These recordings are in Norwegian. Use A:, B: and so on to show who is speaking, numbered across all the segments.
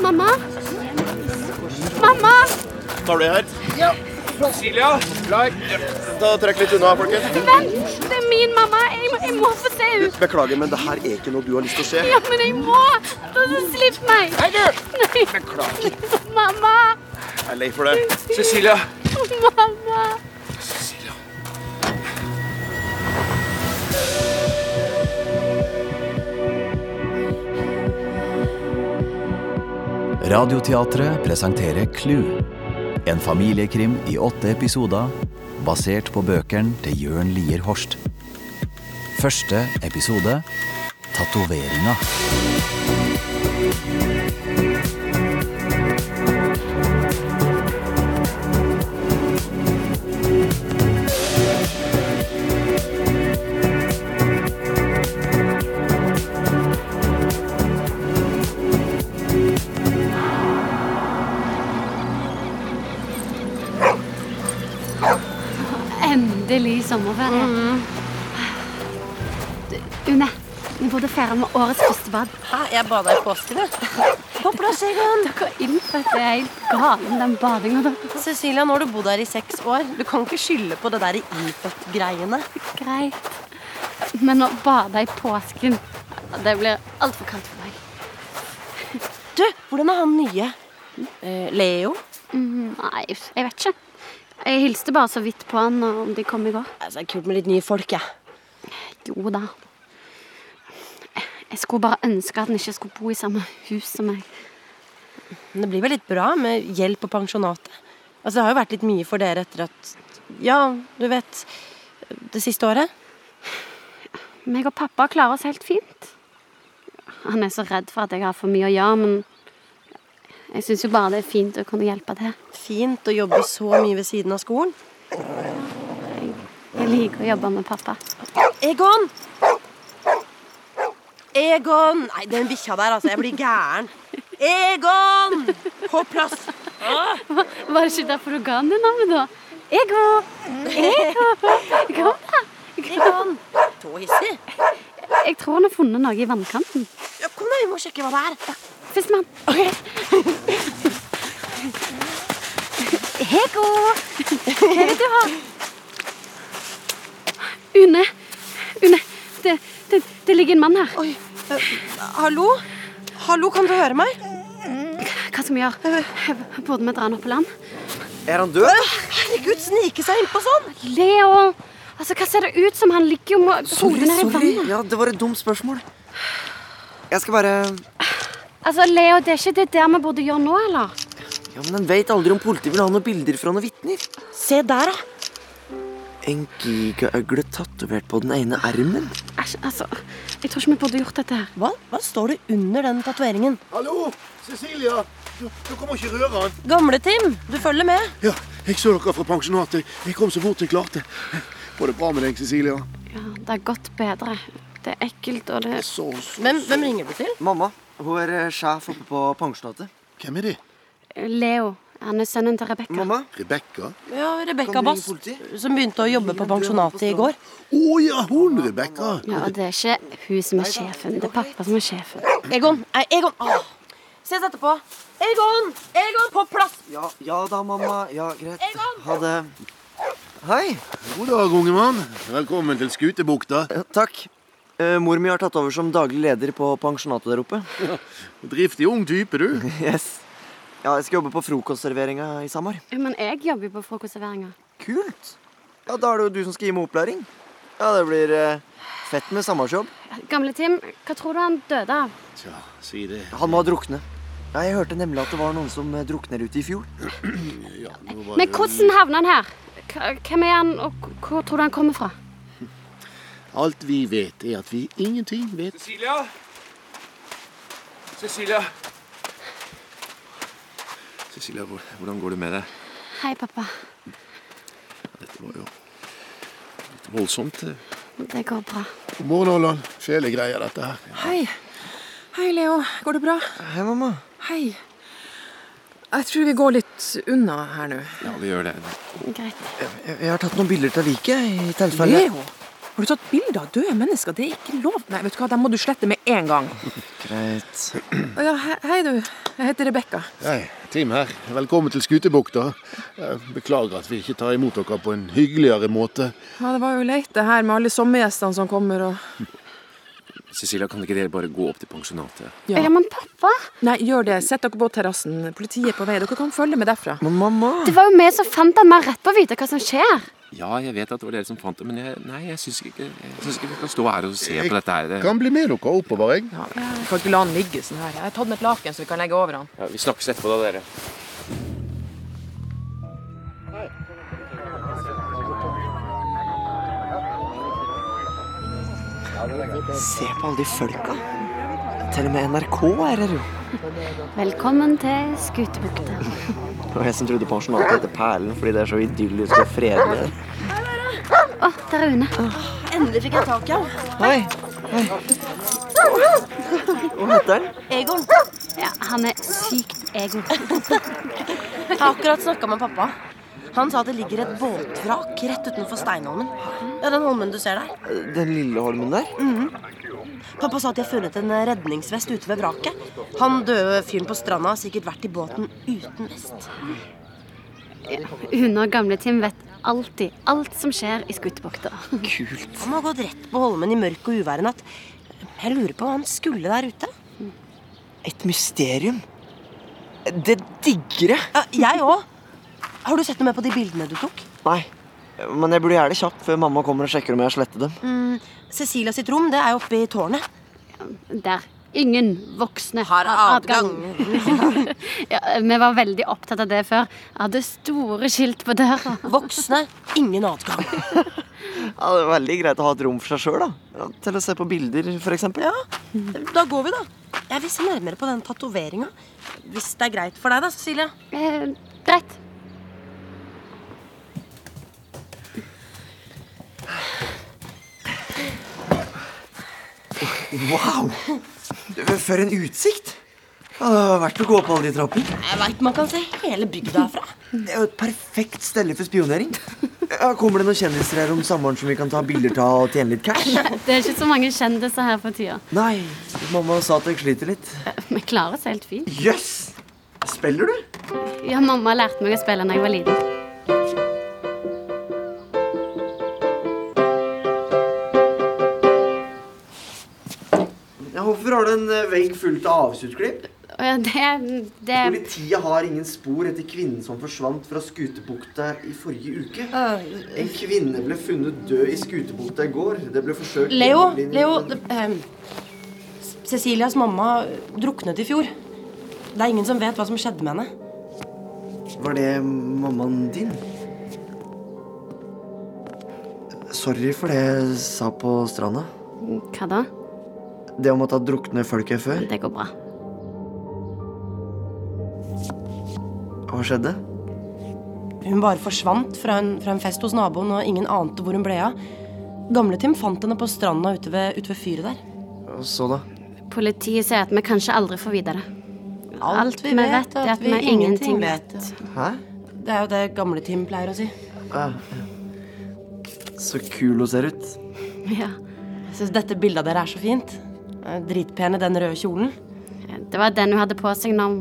A: Mamma? Mamma?
B: Tar du i her?
C: Silja, klar.
B: Ta Trekk litt unna, folkens.
A: Vent, det er min mamma. Jeg, må- jeg må få se henne.
B: Beklager, men det her er ikke noe du har lyst til å se.
A: Ja, men jeg må. Altså, Slipp meg.
C: Hei, du!
A: Nei.
C: Beklager.
A: Mamma.
B: Jeg er lei for det.
C: Cecilia.
A: Mamma.
C: Cecilia.
D: Radioteatret presenterer Clue. En familiekrim i åtte episoder, basert på bøkene til Jørn Lier Horst. Første episode Tatoveringa.
E: Endelig sommerferie.
A: Mm.
E: Du, Une, vi burde feire med årets første bad.
F: Hæ, jeg bada i påsken, jeg. På plass, Egon.
E: Dere innfødte er helt gale med den badinga deres.
F: Cecilia, nå har du bodd her i seks år. Du kan ikke skylde på det der innfødt-greiene.
E: Greit. Men å bade i påsken Det blir altfor kaldt for meg.
F: Du, hvordan er han nye? Eh, Leo?
E: Mm, Nei, jeg vet ikke. Jeg hilste bare så vidt på han og om de kom i går.
F: Altså, det er kult med litt nye folk, jeg.
E: Jo da. Jeg skulle bare ønske at han ikke skulle bo i samme hus som meg.
F: Men det blir vel litt bra med hjelp på pensjonatet? Altså, det har jo vært litt mye for dere etter at Ja, du vet Det siste året.
E: Meg og pappa klarer oss helt fint. Han er så redd for at jeg har for mye å gjøre, men jeg syns jo bare det er fint å kunne hjelpe til.
F: Fint å jobbe så mye ved siden av skolen.
E: Jeg liker å jobbe med pappa.
F: Egon! Egon! Nei, den bikkja der, altså. Jeg blir gæren. Egon! På plass!
E: Var det ikke derfor du ga han det navnet, da? Ego! Ego! Kom, da!
F: Egon! Så hissig.
E: Jeg tror han har funnet noe i vannkanten.
F: Ja, kom, da. Vi må sjekke hva det er.
E: Førstemann. Okay. Hego! Hva er det du har? Une. Une. Det, det, det ligger en mann her.
F: Oi. eh, hallo? Hallo, kan du høre meg?
E: Hva skal vi gjøre? Burde vi dra han opp på land?
B: Er han død?
F: Herregud, snike seg innpå sånn!
E: Leo! Altså, Hva ser det ut som? Han ligger jo med
B: Sorry,
E: hodet ned i
B: sorry.
E: vannet.
B: Ja, det var et dumt spørsmål. Jeg skal bare
E: Altså, Leo, det er ikke det der vi burde gjøre nå, eller?
B: Ja, men En veit aldri om politiet vil ha noen bilder fra noen vitner.
F: Se der, da.
B: En gigaøgle tatovert på den ene armen.
E: Æsj, altså Jeg tror ikke vi burde gjort dette her.
F: Hva, hva står det under den tatoveringen?
G: Hallo, Cecilia. Du, du må ikke røre han.
F: Gamle-Tim, du følger med.
G: Ja, jeg så dere fra pensjonatet. Jeg kom så fort jeg klarte. Går det bra med deg, Cecilia?
E: Ja, Det har gått bedre. Det er ekkelt, og det
G: Så, så.
F: Hvem, hvem ringer du til?
B: Mamma, hun er eh, sjef oppe på pensjonatet.
G: Hvem er det?
E: Leo. Han er sønnen til Rebekka.
B: Mamma?
G: Rebekka?
F: Ja, Rebekka
B: Kan du ringe
F: Bast,
B: politiet?
F: som begynte å jobbe på pensjonatet i går.
G: Å ja, hun Rebekka.
E: Ja, og det er ikke hun som er sjefen. Det er pappa som er sjefen.
F: Egon, nei, Egon. Ah. Ses etterpå. Egon! Egon, på plass!
B: Ja, ja da, mamma. Ja, greit.
F: Egon!
B: Ha det. Hei.
G: God dag, unge mann. Velkommen til Skutebukta.
B: Ja, Takk. Eh, Mor mi har tatt over som daglig leder på pensjonatet der oppe.
G: Driftig ung type, du.
B: Yes. Ja, jeg skal jobbe på frokostserveringa i Samar.
E: Ja, Men jeg jobber jo på frokostserveringa.
B: Kult. Ja, Da er det jo du som skal gi meg opplæring. Ja, det blir eh, fett med Samarsjobb.
E: Gamle Tim, hva tror du han døde av?
G: Tja, si det.
B: Han må ha drukne. Ja, Jeg hørte nemlig at det var noen som eh, drukner ute i fjor.
G: Ja, nå var
E: Men
G: det-
E: hvordan havna han her? Hva- Hvem er han, og hvor tror du han kommer fra?
G: Alt vi vet, er at vi ingenting vet.
C: Cecilia. Cecilia.
B: Cecilia, hvordan går det med deg?
E: Hei, pappa.
G: Dette var jo litt voldsomt.
E: Det går bra.
G: God morgen, Allan. Fæle greier, dette her.
H: Hei. Hei, Leo. Går det bra?
B: Hei, mamma.
H: Hei. Jeg tror vi går litt unna her nå.
B: Ja, vi gjør det.
E: Greit.
B: Jeg, jeg har tatt noen bilder til liket. i tilfelle.
H: Leo? Har du tatt bilde av døde mennesker? Det er ikke lov. Nei, vet du hva, den må du slette med en gang.
B: Greit.
H: Å Ja, he- hei, du. Jeg heter Rebekka.
G: Hei, Tim her. Velkommen til Skutebukta. Jeg Beklager at vi ikke tar imot dere på en hyggeligere måte.
H: Ja, det var jo leit det her med alle sommergjestene som kommer og
C: Cecilia, kan ikke dere bare gå opp til pensjonatet?
H: Ja.
E: Ja, men pappa,
H: Nei, gjør det. Sett dere på terrassen. Politiet er på vei. Dere kan følge med derfra.
B: Men mamma!
E: det var jo vi som fant han. Vi har rett på å vite hva som skjer.
C: Ja, jeg vet at det var dere som fant det, men jeg, nei, jeg syns ikke, jeg syns ikke vi kan stå her og se på dette her. Det-
G: Kan bli med dere oppover, jeg.
H: Ja, vi kan ikke la han ligge sånn her. Jeg har tatt med et laken så vi kan legge over han.
C: Ja, vi snakkes etterpå, da, dere.
B: Se på alle de folka. Til og med NRK er her, jo.
E: Velkommen til Skutebukta.
B: Og jeg som trodde pensjonatet heter Perlen fordi det er så idyllisk og fredelig der.
E: Å, der er Une.
F: Endelig fikk jeg tak i han.
B: Hei! Hei. Hva heter den?
F: Egon.
E: Ja, han er sykt ego.
F: Jeg har akkurat snakka med pappa. Han sa at det ligger et båtvrak rett utenfor Steinholmen. Ja, den holmen du ser der. Mhm.
B: Den lille holmen der?
F: Pappa sa at de har funnet en redningsvest ute ved vraket. Han døde fyren på stranda har sikkert vært i båten uten vest.
E: Une og gamle Tim vet alltid alt som skjer i Skutebukta.
F: Han må ha gått rett på holmen i mørk og uvær en natt. Jeg lurer på hva han skulle der ute.
B: Et mysterium. Det digger jeg.
F: Ja, jeg òg. Har du sett noe med på de bildene du tok?
B: Nei, men jeg burde gjøre det kjapt før mamma kommer og sjekker om jeg har slettet dem.
F: Cecilia sitt rom det er oppe i tårnet.
E: Der. Ingen voksne har ja, vi var veldig opptatt av det før. Jeg hadde store skilt på døra.
F: Voksne, ingen adgang.
B: Ja, det er veldig greit å ha et rom for seg sjøl, da. Ja, til å se på bilder, f.eks. Ja.
F: Da går vi, da. Jeg vil se nærmere på den tatoveringa. Hvis det er greit for deg, da, Cecilia.
E: Eh, greit.
B: Wow! For en utsikt! Ja, det var verdt å gå opp alle de trappene.
F: Jeg veit man kan se hele bygda herfra.
B: Det er jo et perfekt sted for spionering. Ja, kommer det noen kjendiser her om sommeren som vi kan ta bilder av og tjene litt cash?
E: Det er ikke så mange kjendiser her for tida.
B: Nei, mamma sa at jeg sliter litt.
E: Vi klarer oss helt fint.
B: Jøss! Yes. Spiller du?
E: Ja, mamma lærte meg å spille da jeg var liten.
B: Ja, Hvorfor har du en eh, vegg fullt av avsutklipp?
E: Å ja, Det, det
B: Politiet har ingen spor etter kvinnen som forsvant fra Skutebukta i forrige uke.
F: Øh.
B: En kvinne ble funnet død i Skutebukta i går. Det ble forsøkt
F: Leo,
B: gjennomlivning,
F: Leo
B: men-
F: det, ehm, Cecilias mamma druknet i fjor. Det er ingen som vet hva som skjedde med henne.
B: Var det mammaen din? Sorry for det jeg sa på stranda.
E: Hva da?
B: Det om at jeg drukne folk her før.
E: Det går bra.
B: Hva skjedde?
F: Hun bare forsvant fra en, fra en fest hos naboen, og ingen ante hvor hun ble av. Gamle-Tim fant henne på stranda ute ved, ute ved fyret der.
B: Og så, da?
E: Politiet sier at vi kanskje aldri får vite det. Alt vi vet, er at vi ingenting vet.
B: Hæ?
F: Det er jo det Gamle-Tim pleier å si.
B: Ah, ja. Så kul hun ser ut.
E: Ja.
F: Jeg syns dette bildet av dere er så fint. Eh, Dritpen i den røde kjolen.
E: Det var den hun hadde på seg når,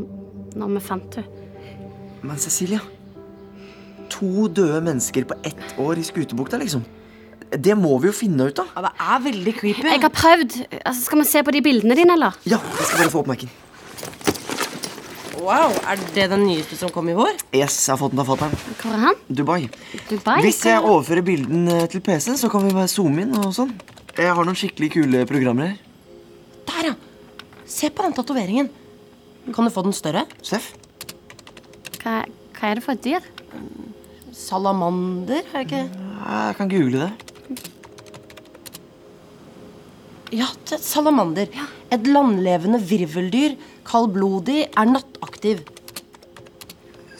E: når vi fant henne.
B: Men Cecilia To døde mennesker på ett år i Skutebukta, liksom. Det må vi jo finne ut av.
F: Ja, det er veldig creepy.
E: Jeg har prøvd. Altså, skal vi se på de bildene dine, eller?
B: Ja, jeg skal bare få opp Mac-en.
F: Wow, Er det den nyeste som kom i vår?
B: Yes, jeg har fått den av fatter'n.
E: Hvor er han?
B: Dubai.
E: Dubai?
B: Hvis
E: hva-
B: jeg overfører bilden eh, til PC, så kan vi bare zoome inn og sånn. Jeg har noen skikkelig kule programmer her.
F: Der, ja! Se på den tatoveringen. Kan du få den større?
B: Seff?
E: hva, hva er det for et dyr?
F: Salamander, er det ikke?
B: Ja, Jeg kan google det.
F: Ja, det er salamander. Et landlevende virveldyr, kaldblodig, er nattaktiv.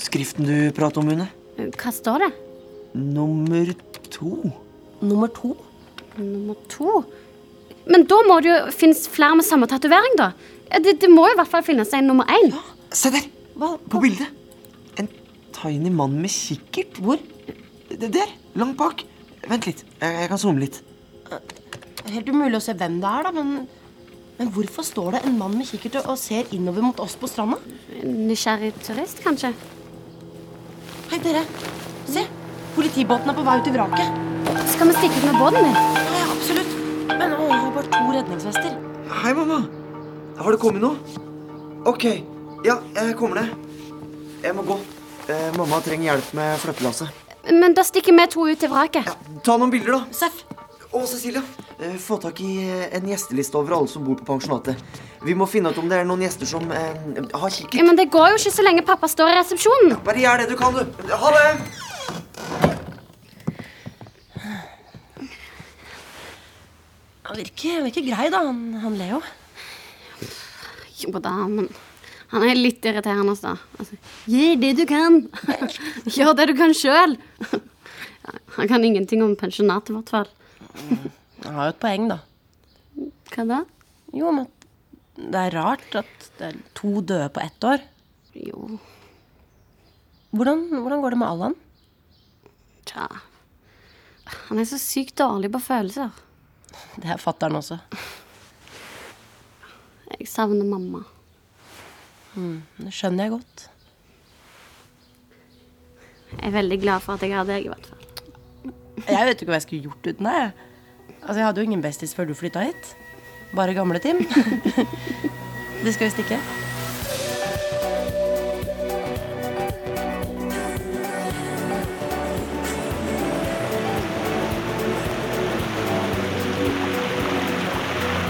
B: Skriften du prater om, Une.
E: Hva står det?
B: Nummer to.
F: Nummer to.
E: Nummer to? Men da må det jo finnes flere med samme tatovering, da. Ja, Det, det må jo i hvert fall finnes en nummer én.
B: Se der!
F: Hva-
B: På bildet. En tiny mann med kikkert.
F: Hvor?
B: Det der. Langt bak. Vent litt. Jeg, jeg kan zoome litt.
F: Helt umulig å se hvem det er, da, men men hvorfor står det en mann med kikkert og og ser innover mot oss på stranda?
E: Nysgjerrig turist, kanskje?
F: Hei, dere. Se. Politibåten er på vei ut i vraket.
E: Skal vi stikke ut med båten din?
F: Ja, ja, absolutt. Men å, jeg har bare to redningsvester.
B: Hei, mamma. Har det kommet noe? OK. Ja, jeg kommer ned. Jeg må gå. Eh, mamma trenger hjelp med flyttelasset.
E: Men da stikker vi to ut til vraket.
B: Ja, ta noen bilder, da.
F: Seff,
B: Å, Cecilia. Eh, få tak i eh, en gjesteliste over alle som bor på pensjonatet. Vi må finne ut om det er noen gjester som eh, har kikkert.
E: Ja, men det går jo ikke så lenge pappa står i resepsjonen.
B: Bare gjør det du kan, du. Ha det!
F: han virker, han virker grei, da, han, han Leo.
E: Jo da, men han er litt irriterende, altså. altså Gi det du kan. Gjør det du kan sjøl. Han kan ingenting om pensjonatet, i hvert fall.
F: Han har jo et poeng, da.
E: Hva da?
F: Jo, men det er rart at det er to døde på ett år.
E: Jo,
F: Hvordan, hvordan går det med Allan?
E: tja Han er så sykt dårlig på følelser.
F: Det er fatter'n også.
E: Jeg savner mamma.
F: Det skjønner jeg godt.
E: Jeg er veldig glad for at jeg har deg, i hvert fall.
F: Jeg vet jo ikke hva jeg skulle gjort uten deg. jeg. Altså, Jeg hadde jo ingen bestis før du flytta hit. Bare gamle Tim. det skal visst ikke.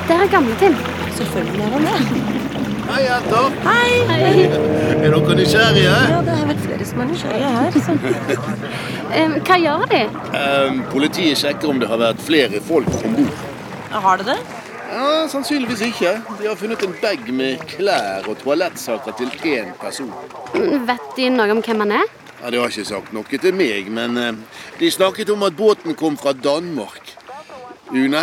E: Der er gamle-Tim.
F: Selvfølgelig gjør han det.
G: Hei, jenter. Er dere nysgjerrige?
F: Ja, det er vel flere som er nysgjerrige her. Så.
E: Eh, Hva gjør de?
G: Ehm, politiet sjekker om det har vært flere folk om bord.
F: Har det det?
G: Ja, sannsynligvis ikke. De har funnet en bag med klær og toalettsaker til én person.
E: Vet de noe om hvem han er?
G: Ja, De har ikke sagt noe til meg, men eh, de snakket om at båten kom fra Danmark. Une,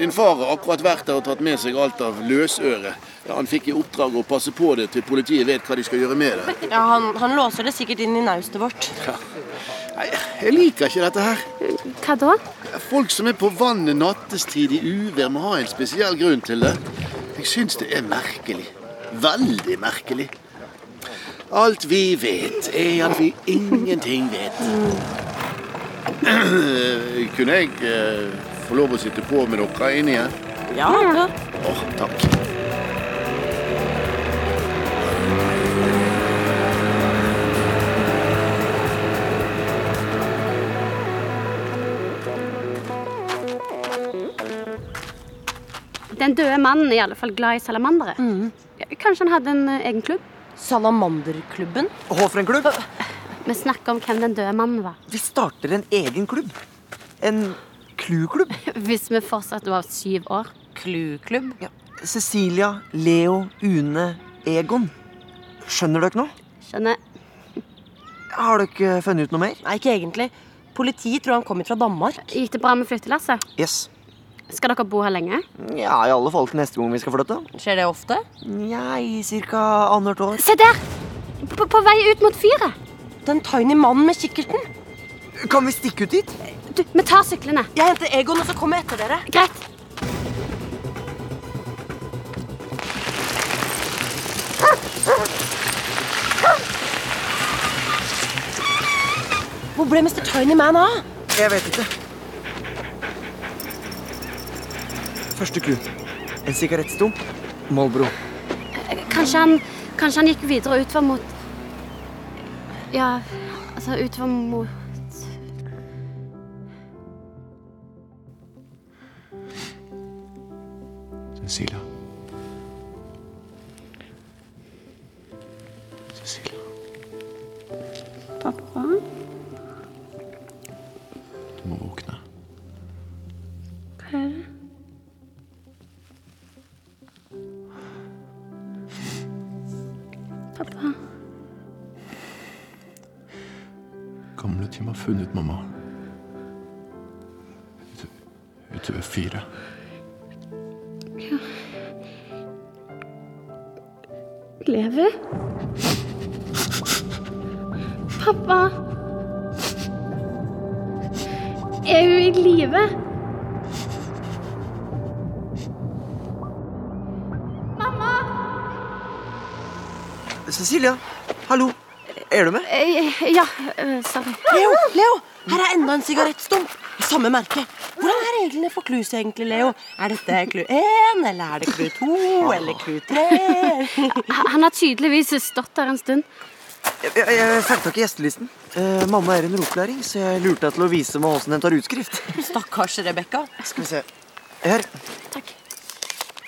G: din far har akkurat vært der og tatt med seg alt av løsøre. Ja, han fikk i oppdrag å passe på det til politiet vet hva de skal gjøre med det.
F: Ja, han, han låser det sikkert inn i naustet vårt.
G: Nei, jeg liker ikke dette her.
E: Hva da?
G: Folk som er på vannet nattestid i uvær, må ha en spesiell grunn til det. Jeg syns det er merkelig. Veldig merkelig. Alt vi vet, er at vi ingenting vet. Kunne jeg eh, få lov å sitte på med dere inne igjen?
F: Ja, ja.
G: Åh, takk.
E: Den døde mannen er i alle fall glad i salamandere. Ja, Kanskje han hadde en eh, egen klubb?
F: Salamanderklubben.
B: Hå for en klubb.
E: Vi snakker om hvem den døde mannen var.
B: Vi starter en egen klubb. En kluklubb.
E: Hvis vi fortsatt var syv år.
F: Kluklubb.
B: Ja. Cecilia, Leo, Une, Egon. Skjønner dere noe?
E: Skjønner.
B: Har dere funnet ut noe mer?
F: Nei, ikke egentlig. Politiet tror han kommer fra Danmark.
E: Gikk det bra med flyttelasset?
B: Yes.
E: Skal dere bo her lenge?
B: Ja, i alle fall til neste gang vi skal flytte.
F: Skjer det ofte?
B: Nei, cirka annethvert år.
E: Se der! På, på vei ut mot fyret.
F: Den tiny mannen med kikkerten.
B: Kan vi stikke ut dit?
E: Du, vi tar syklene.
F: Jeg henter Egon, og så kommer jeg etter dere.
E: Greit.
F: Hvor ble Mr. Tiny Man av?
B: Jeg vet ikke. Første clou. En sigarettstump. Molbro.
E: Kanskje han, kanskje han gikk videre utover mot Ja, altså utover mot
C: Cecilia. Cecilia.
E: Pappa?
C: Du må våkne.
E: Hva er det? Pappa?
C: Gamle Tim har funnet mamma. Ute- Ute ved fyret.
E: Lever? Pappa? Er hun i live?
I: Cecilia, hallo. Er du med?
E: Eh, Ja, eh, sorry.
F: Leo, Leo, her er enda en sigarettstump. Samme merke. Hvordan er reglene for klus egentlig, Leo? Er dette klu én, eller er det klu to, eller klu tre?
E: Han har tydeligvis stått der en stund.
I: Jeg, jeg, jeg fant tak i gjestelisten. Eh, mamma er under opplæring, så jeg lurte deg til å vise meg åssen en tar utskrift.
F: Stakkars Rebekka.
I: Skal vi se. Her.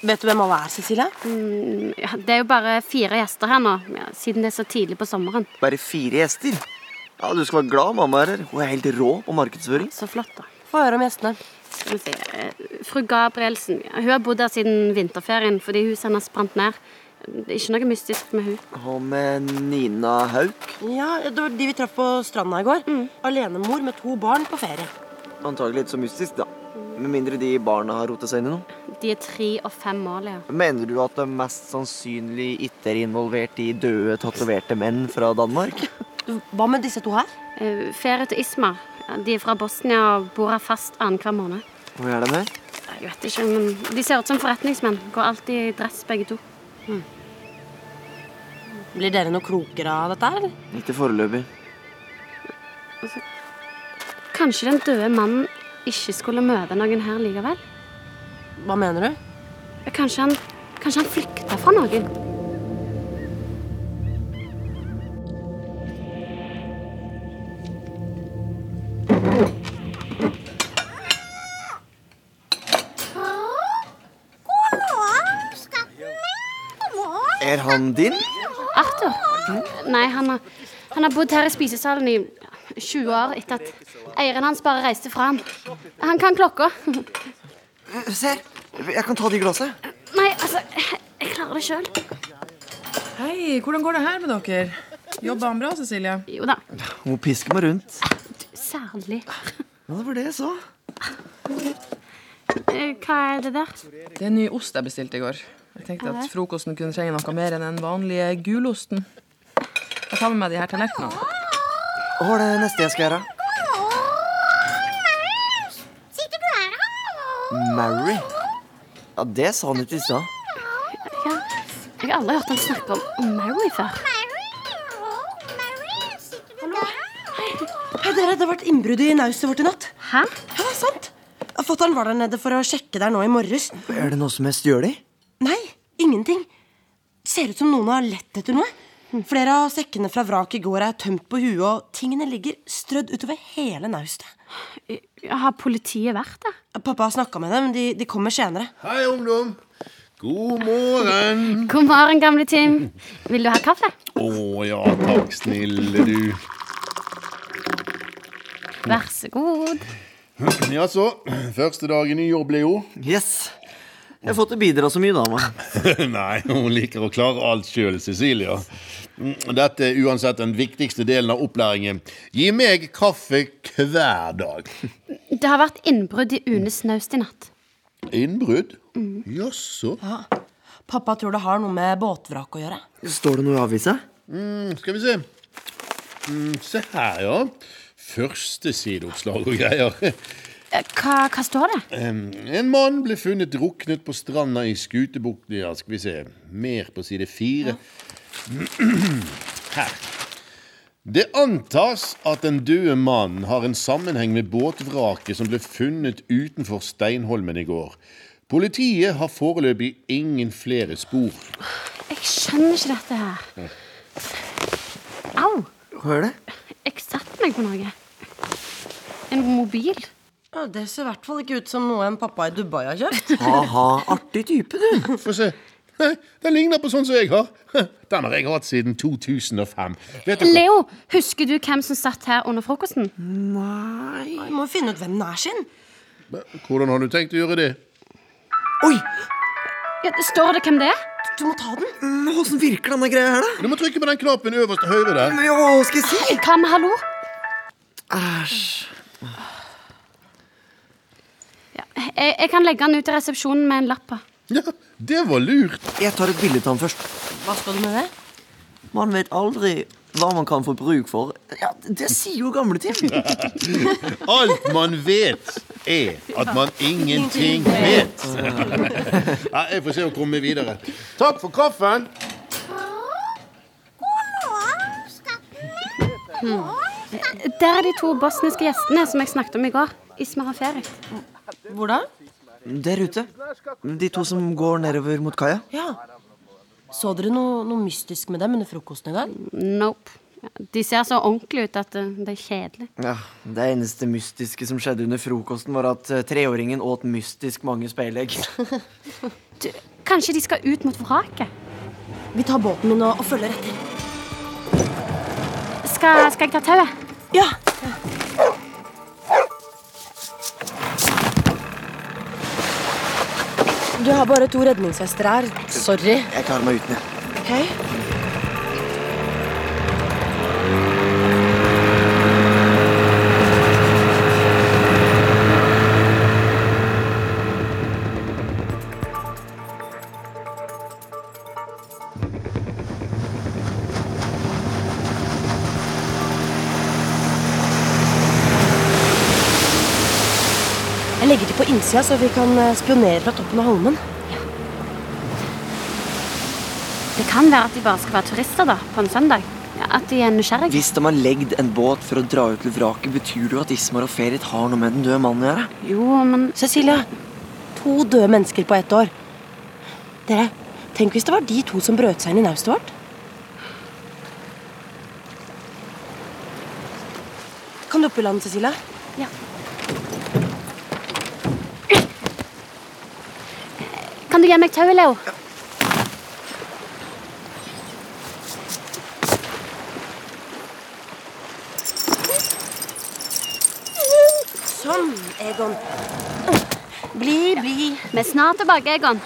F: Vet du hvem alle er, Cecilie?
E: Mm, ja, Det er jo bare fire gjester her nå, ja, siden det er så tidlig på sommeren.
I: Bare fire gjester. Ja, Du skal være glad mamma er her. Hun er helt rå på markedsføring.
E: Så flott, da.
F: Få høre om gjestene.
E: Skal vi se. eh, Fru Gabrielsen ja, hun har bodd her siden vinterferien fordi huset hennes brant ned. Det er ikke noe mystisk med hun.
I: Og med Nina Hauk.
F: Ja, Det var de vi traff på stranda i går. Alenemor med to barn på ferie.
I: Antagelig ikke så mystisk, da. Med mindre de barna har rota seg inn i noe.
E: De er tre og fem mål, ja.
I: Mener du at de mest sannsynlig ikke er involvert i døde, tatoverte menn fra Danmark?
F: Du, Hva med disse to her?
E: Eh, Ferit og Ismar ja, de er fra Bosnia og bor her fast annenhver måned.
I: Hvor er de her?
E: Jeg vet ikke, men De ser ut som forretningsmenn. Går alltid i dress, begge to.
F: Blir dere noe klokere av dette, her, eller?
I: Ikke foreløpig.
E: Kanskje den døde mannen ikke skulle møte noen her likevel?
F: Hva mener du?
E: Kanskje han, kanskje han flykta fra noen?
I: Er han din?
E: Arthur? Nei, han har, han har bodd her i spisesalen i 20 år etter at eieren hans bare reiste fra ham. Han kan klokka.
I: Se her. Jeg kan ta de glassene.
E: Nei, altså, jeg klarer det sjøl.
J: Hei, hvordan går det her med dere? Jobber han bra, Cecilie?
E: Jo da,
I: Hun pisker meg rundt.
E: særlig.
I: Ja, det var det jeg så.
E: Eh, Hva er det der?
J: Det er en ny ost jeg bestilte i går. Jeg tenkte at frokosten kunne trenge noe mer enn den vanlige gulosten. Jeg tar med meg de her tallerkenene.
I: Hva er det neste jeg skal gjøre? Mary? Ja, det sa han ikke i stad.
E: Ja, jeg har aldri hørt han snakke om, om Mary før.
F: Hei, dere, Det har vært innbrudd i nauset vårt i natt.
E: Hæ?
F: Ja, det er sant. Fatter'n var der nede for å sjekke der nå i morges.
I: Er det noe som er stjålet?
F: Nei, ingenting. Ser ut som noen har lett etter noe. Flere av sekkene fra vraket i går er tømt på huet, og tingene ligger strødd utover hele naustet.
E: Har politiet vært der?
F: Pappa har snakka med dem. De, de kommer senere.
G: Hei, ungdom. God morgen.
E: God morgen, gamle Tim. Vil du ha kaffe?
G: Å ja, takk, snille du.
E: Vær så god.
G: Ja så, første dagen i jobb, Leo.
I: Yes. Jeg har fått til å bidra så mye, dama.
G: Nei, hun liker å klare alt sjøl, Cecilia. Mm, Dette er uansett den viktigste delen av opplæringen. Gi meg kaffe hver dag.
E: Det har vært innbrudd i Unes naust i natt.
G: Innbrudd? Jaså.
F: Pappa tror det har noe med båtvraket å gjøre.
I: Står det noe i avisa?
G: Mm, Skal vi se. Mm, Se her, ja. Førstesideoppslag og greier.
E: Eh, Hva, hva står det?
G: Em, En mann ble funnet druknet på stranda i Skutebukten. Ja, skal vi se. Mer på side fire. Her. Det antas at den døde mannen har en sammenheng med båtvraket som ble funnet utenfor Steinholmen i går. Politiet har foreløpig ingen flere spor.
E: Jeg skjønner ikke dette her. Au!
I: Hva er det?
E: Jeg satte meg på noe. En mobil.
F: Ja, det ser i hvert fall ikke ut som noe en pappa i Dubai har kjøpt.
I: Aha, Ah, artig type, du.
G: Få se. Hei, Den ligner på sånn som jeg har. Den har jeg hatt siden 2005. Vet dere-
E: Leo, husker du hvem som satt her under frokosten?
F: Vi må jo finne ut hvem den er sin.
G: Hvordan har du tenkt å gjøre det?
I: Oi,
E: Ja, det står det hvem det er?
F: Du må ta den.
I: men åssen virker denne greia her, da?
G: Du må trykke på den knappen øverst til høyre der.
I: Men, ja, hva skal jeg si?
E: Hva med hallo?
I: Æsj.
E: Jeg, jeg kan legge han ut i resepsjonen med en lapp på.
G: Ja, det var lurt.
I: Jeg tar et bilde av han først.
F: Hva skal du med det?
I: Man vet aldri hva man kan få bruk for. Ja, Det sier jo gamle Tim.
G: Alt man vet, er at man ingenting vet. Ja, jeg får se å komme videre. Takk for kaffen.
E: Der er de to bosniske gjestene som jeg snakket om i går. Ismar og Ferit.
F: Hvor da?
I: Der ute. De to som går nedover mot kaia.
F: Ja. Så dere noe, noe mystisk med dem under frokosten i dag?
E: Nope. De ser så ordentlige ut at eh, det er kjedelig.
I: Ja, Det eneste mystiske som skjedde under frokosten, var at eh, treåringen åt mystisk mange speilegg.
E: Du, kanskje de skal ut mot vraket?
F: Vi tar båten min og, og følger etter.
E: Skal, skal jeg ta tauet?
F: Ja. Du har bare to redningsvester her. Sorry.
I: Jeg klarer meg uten, jeg.
F: Ok? Jeg legger til på innsida, så vi kan eh, spionere fra toppen av holmen.
E: Det kan være at de bare skal være turister da, på en søndag. Ja, at de er nysgjerrige.
I: Hvis de har legd en båt for å dra ut til vraket, betyr det jo at Ismar og Ferit har noe med den døde mannen å gjøre.
E: Jo, men
F: Cecilia, to døde mennesker på ett år. Dere, tenk hvis det var de to som brøt seg inn i naustet vårt. Kan du opp i land, Cecilia?
E: Ja. Kan du gi meg tauet, Leo?
F: Sånn, Egon. Bli, bli.
E: Vi er snart tilbake, Egon.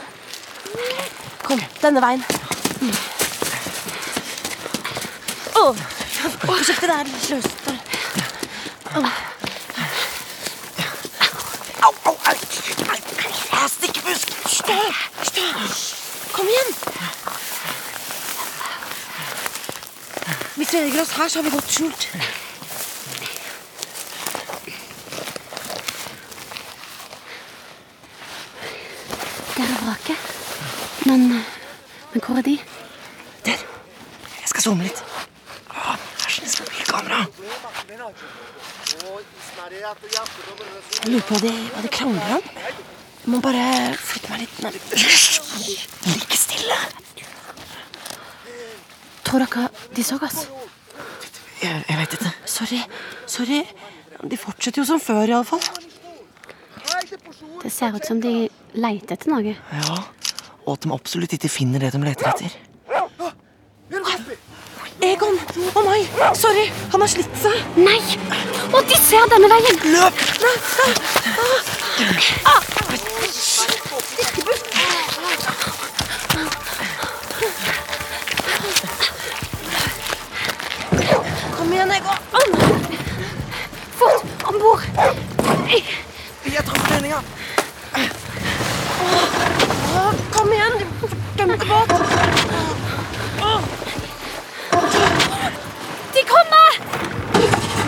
F: Kom, denne veien. Åh, Forsiktig, det er litt løst. Åh. Au, au, au. Au, Stikkebusk. Stå, stå. Kom igjen. Hvis vi legger oss her, så har vi godt skjult.
E: Der er vraket. Men, men hvor er de?
F: Jeg skal zoome litt.
I: Kamera!
F: Jeg lurer på hva de, hva de krangler om. Jeg må bare flytte meg litt nærmere. Ligg stille. Tror dere de så oss?
I: Jeg, jeg veit ikke.
F: Sorry. Sorry. De fortsetter jo som før, iallfall.
E: Det ser ut som de leter etter noe.
I: Ja, Og at de absolutt ikke finner det de leter etter.
F: Egon! Å nei! Sorry! Han har slitt seg.
E: Nei! Og de ser denne veien!
F: Løp! Kom igjen, Egon.
E: Fort! Om bord!
I: Jeg tar fortøyninga!
F: Å, Kom igjen, din fordømte båt.
E: De kommer!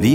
D: Vi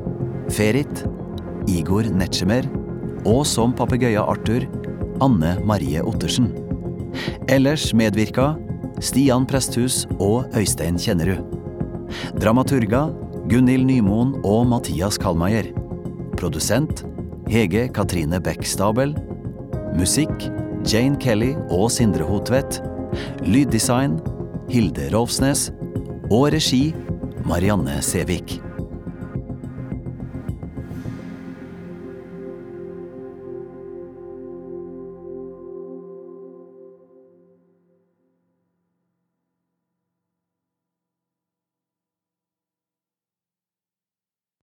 D: Ferit, Igor Netsjemer og som papegøyen Arthur, Anne Marie Ottersen. Ellers medvirka Stian Presthus og Øystein Kjennerud. Dramaturga Gunhild Nymoen og Mathias Kallmeier. Produsent Hege Katrine Bech Stabel. Musikk Jane Kelly og Sindre Hotvedt. Lyddesign Hilde Rolfsnes. Og regi Marianne Sævik.